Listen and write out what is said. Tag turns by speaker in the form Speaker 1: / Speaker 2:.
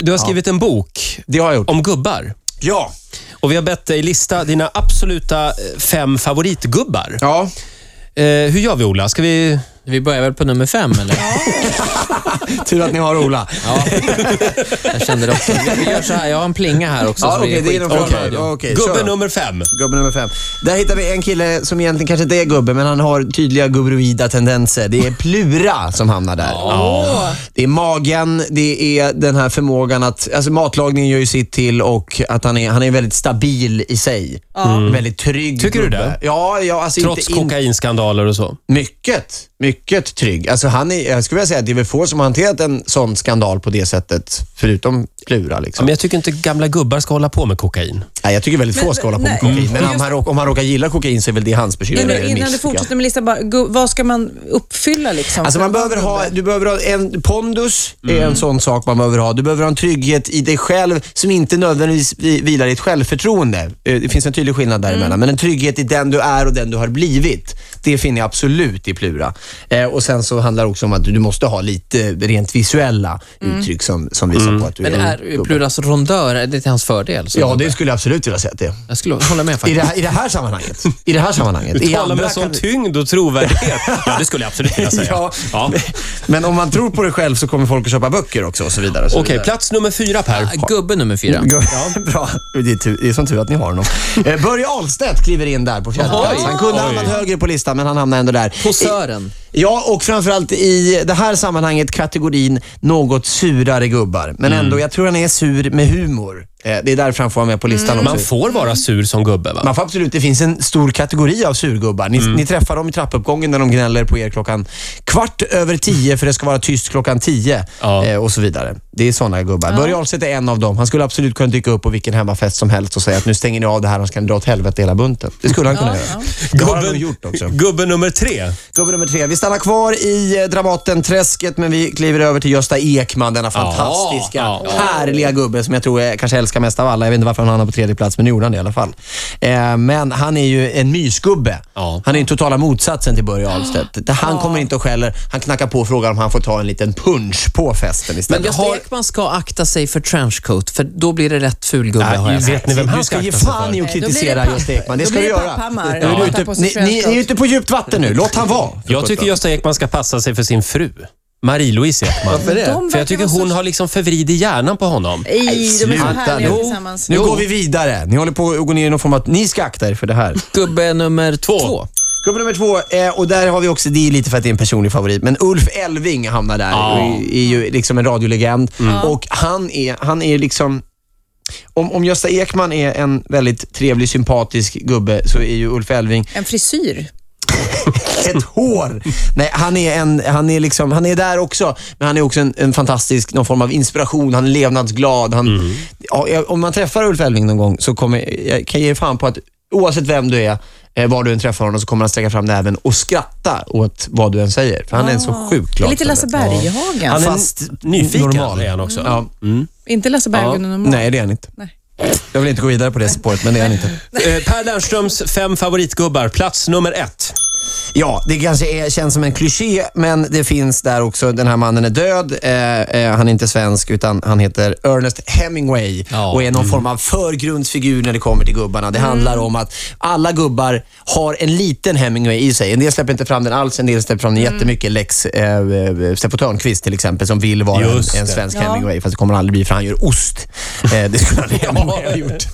Speaker 1: du har skrivit en bok
Speaker 2: Det har jag gjort.
Speaker 1: om gubbar.
Speaker 2: Ja.
Speaker 1: Och vi har bett dig lista dina absoluta eh, fem favoritgubbar.
Speaker 2: Ja.
Speaker 1: Eh, hur gör vi, Ola? Ska vi...
Speaker 3: Vi börjar väl på nummer fem, eller?
Speaker 2: Tur att ni har Ola.
Speaker 3: Ja, jag kände det också. Vi gör så här, jag har en plinga här också.
Speaker 2: Ja,
Speaker 3: så blir
Speaker 2: okej, det är
Speaker 3: skit-
Speaker 2: någon form av-
Speaker 3: Okej.
Speaker 2: ja, okej, kör
Speaker 1: Gubbe
Speaker 2: då.
Speaker 1: nummer fem.
Speaker 2: Gubbe nummer fem. Där hittar vi en kille som egentligen kanske inte är gubbe, men han har tydliga gubroida tendenser. Det är Plura som hamnar där. Det är magen, det är den här förmågan att... Alltså matlagningen gör ju sitt till och att han är, han är väldigt stabil i sig. Väldigt trygg
Speaker 1: Tycker du
Speaker 2: gubbe.
Speaker 1: det?
Speaker 2: Ja, ja alltså
Speaker 1: Trots
Speaker 2: inte, in,
Speaker 1: kokainskandaler och så.
Speaker 2: Mycket, mycket trygg. Alltså han är, jag skulle vilja säga att det är väl få som har hanterat en sån skandal på det sättet, förutom Plura.
Speaker 1: Ja,
Speaker 2: Liksom.
Speaker 1: men jag tycker inte gamla gubbar ska hålla på med kokain.
Speaker 2: Nej, jag tycker väldigt få
Speaker 4: Men-
Speaker 2: ska hålla på med
Speaker 4: nej,
Speaker 2: kokain,
Speaker 4: mm.
Speaker 2: men om
Speaker 4: just-
Speaker 2: han, råkar, om han råkar gilla kokain så är väl det hans bekymmer.
Speaker 4: Innan,
Speaker 2: eller miss,
Speaker 4: innan du
Speaker 2: tycker jag.
Speaker 4: fortsätter med listan, bara, gu- vad ska man uppfylla liksom?
Speaker 2: Alltså
Speaker 4: för
Speaker 2: man
Speaker 4: en
Speaker 2: behöver ha,
Speaker 4: gubbe?
Speaker 2: du behöver ha en pondus, är
Speaker 4: Mm.
Speaker 2: en sån sak man behöver ha. Du behöver ha en trygghet i dig själv som inte nödvändigtvis vi- vilar i ett självförtroende. Eh, Det finns en tydlig skillnad däremellan,
Speaker 4: Mm.
Speaker 2: men en trygghet i den du är och den du har blivit. Det finner jag absolut i Plura. Eh, och sen så handlar det också om att du du måste ha lite rent visuella
Speaker 4: Mm.
Speaker 2: uttryck som, som visar på att du
Speaker 3: Men
Speaker 2: är en
Speaker 3: är
Speaker 2: gubbe.
Speaker 3: Pluras rondör, är det till hans fördel? Så
Speaker 2: Ja, det skulle jag absolut vilja säga att det är.
Speaker 3: Jag skulle hålla med
Speaker 2: I det,
Speaker 3: faktiskt.
Speaker 2: här, I det här sammanhanget. I det här sammanhanget. I
Speaker 1: Tala
Speaker 2: andra
Speaker 1: med sån
Speaker 2: kan-
Speaker 1: tyngd och trovärdighet. Ja, det skulle jag absolut vilja säga.
Speaker 2: Ja.
Speaker 1: Ja.
Speaker 2: Men om man tror på det själv så kommer folk att köpa böcker också och så vidare. och så
Speaker 1: Okej,
Speaker 2: vidare.
Speaker 1: plats nummer fyra, Per.
Speaker 3: Ah, Gubbe nummer fyra.
Speaker 2: Ja. Bra. Det är, tur, det är som tur att ni har honom. Eh, Börje Ahlstedt kliver in där på fjärde plats. Han kunde ha hamnat högre på listan, men han hamnade ändå där.
Speaker 3: Posören.
Speaker 2: I- Ja, och framförallt i det här sammanhanget kategorin något surare gubbar. Men ändå, jag tror han är sur med humor. Eh, Det är därför han får vara med på listan
Speaker 1: Man
Speaker 2: också.
Speaker 1: får vara sur som gubbe, va? Mm.
Speaker 2: Man får absolut, det finns en stor kategori av surgubbar. Ni, ni träffar dem i trappuppgången när de gnäller på er klockan kvart över tio för det ska vara tyst klockan tio
Speaker 1: Ja.
Speaker 2: eh, och så vidare. Det är sådana gubbar. Börje Ahlstedt är en av dem. Han skulle absolut kunna dyka upp på vilken hemmafest som helst och säga att nu stänger ni av det här och ska ni dra åt helvete hela bunten. Det skulle han kunna
Speaker 4: Ja,
Speaker 2: göra.
Speaker 4: ja.
Speaker 2: Det har han nog gjort också.
Speaker 1: gubbe nummer tre.
Speaker 2: Gubbe nummer tre. Vi stannar kvar i eh, Dramaten-träsket men vi kliver över till Gösta Ekman, denna fantastiska,
Speaker 1: ja, ja.
Speaker 2: härliga gubbe som jag tror jag kanske älskar mest av alla. Jag vet inte varför han hamnade på tredje plats, men nu gjorde han det i alla fall. Eh, men han är ju en mysgubbe.
Speaker 1: Ja.
Speaker 2: Han är ju totala motsatsen till Börje Ahlstedt. Han kommer inte och skäller. Han knackar på och frågar om han får ta en liten punch på festen istället.
Speaker 3: Men Gösta Ekman ska akta sig för trenchcoat, för då blir det rätt ful gubbe
Speaker 1: Nej,
Speaker 3: har jag
Speaker 1: vet
Speaker 3: sagt.
Speaker 1: ni vem han
Speaker 2: du ska
Speaker 1: ska
Speaker 2: ge
Speaker 1: akta sig
Speaker 2: fan
Speaker 1: för?
Speaker 2: i att
Speaker 4: Nej, då blir det
Speaker 2: kritisera
Speaker 4: papp-
Speaker 2: Gösta Ekman. Det
Speaker 4: då
Speaker 2: ska du
Speaker 4: blir det
Speaker 2: göra.
Speaker 4: Papphammar.
Speaker 2: Nu är du
Speaker 4: Ja.
Speaker 2: ute,
Speaker 4: Ta på sig
Speaker 2: ni, ni är
Speaker 4: trenchcoat.
Speaker 2: ute på djupt vatten nu. Låt han vara.
Speaker 1: Jag tycker Gösta Ekman ska passa sig för sin fru, Marie-Louise Ekman.
Speaker 3: Varför det?
Speaker 4: De
Speaker 1: För jag tycker
Speaker 4: verkar vara
Speaker 1: hon
Speaker 4: så-
Speaker 1: har liksom förvridit hjärnan på honom.
Speaker 4: Nej, de är så
Speaker 2: Sluta
Speaker 4: härliga
Speaker 2: nu.
Speaker 4: tillsammans.
Speaker 2: Nu går vi vidare. Ni håller på att gå ner i någon form av att ni ska akta er för det här.
Speaker 3: Gubbe nummer två.
Speaker 1: Två.
Speaker 2: Gubbe nummer två, eh, och där har vi också, det är lite för att det är en personlig favorit, men Ulf Elving hamnar där.
Speaker 1: Ja.
Speaker 2: Och är, är ju liksom en radiolegend.
Speaker 4: Mm.
Speaker 2: Och han är, han är liksom... Om, om Gösta Ekman är en väldigt trevlig, sympatisk gubbe så är ju Ulf Elving
Speaker 4: En frisyr.
Speaker 2: ett hår. Nej, han är, en, han är, liksom, han är där också, men han är också en, en fantastisk någon form av inspiration. Han är levnadsglad. Han, ja, jag- om man träffar Ulf Elving någon gång så kommer, jag kan ge fan på att oavsett vem du är, eh, var du än träffar honom så kommer han sträcka fram näven och skratta åt vad du än säger. För han är en så sjukt
Speaker 4: Ah. Det är
Speaker 2: glad
Speaker 4: Lite
Speaker 2: kille.
Speaker 4: Lasse Berghagen.
Speaker 1: Han är
Speaker 2: Fast
Speaker 1: nyfiken
Speaker 2: normal.
Speaker 1: är han också.
Speaker 2: Ja.
Speaker 4: Inte Lasse
Speaker 2: Ja.
Speaker 4: Berghagen normalt.
Speaker 2: Nej, det är han inte.
Speaker 4: Nej.
Speaker 2: Jag vill inte gå vidare på det spåret, men det är han inte.
Speaker 1: Eh, Per Lernströms fem favoritgubbar, plats nummer ett.
Speaker 2: Ja, det kanske är, känns som en kliché, men det finns där också. Den här mannen är död. Eh, eh, han är inte svensk, utan han heter Ernest Hemingway
Speaker 3: Ja.
Speaker 2: och är någon form av förgrundsfigur när det kommer till gubbarna. Det handlar om att alla gubbar har en liten Hemingway i sig. En del släpper inte fram den alls, en del släpper fram den jättemycket. Lex eh, eh, Steffo Törnqvist till exempel, som vill vara en,
Speaker 1: Just
Speaker 2: en
Speaker 1: det.
Speaker 2: svensk
Speaker 4: Ja.
Speaker 2: Hemingway, fast det kommer han aldrig bli för han gör ost. Eh, det skulle han Hemingway ha gjort.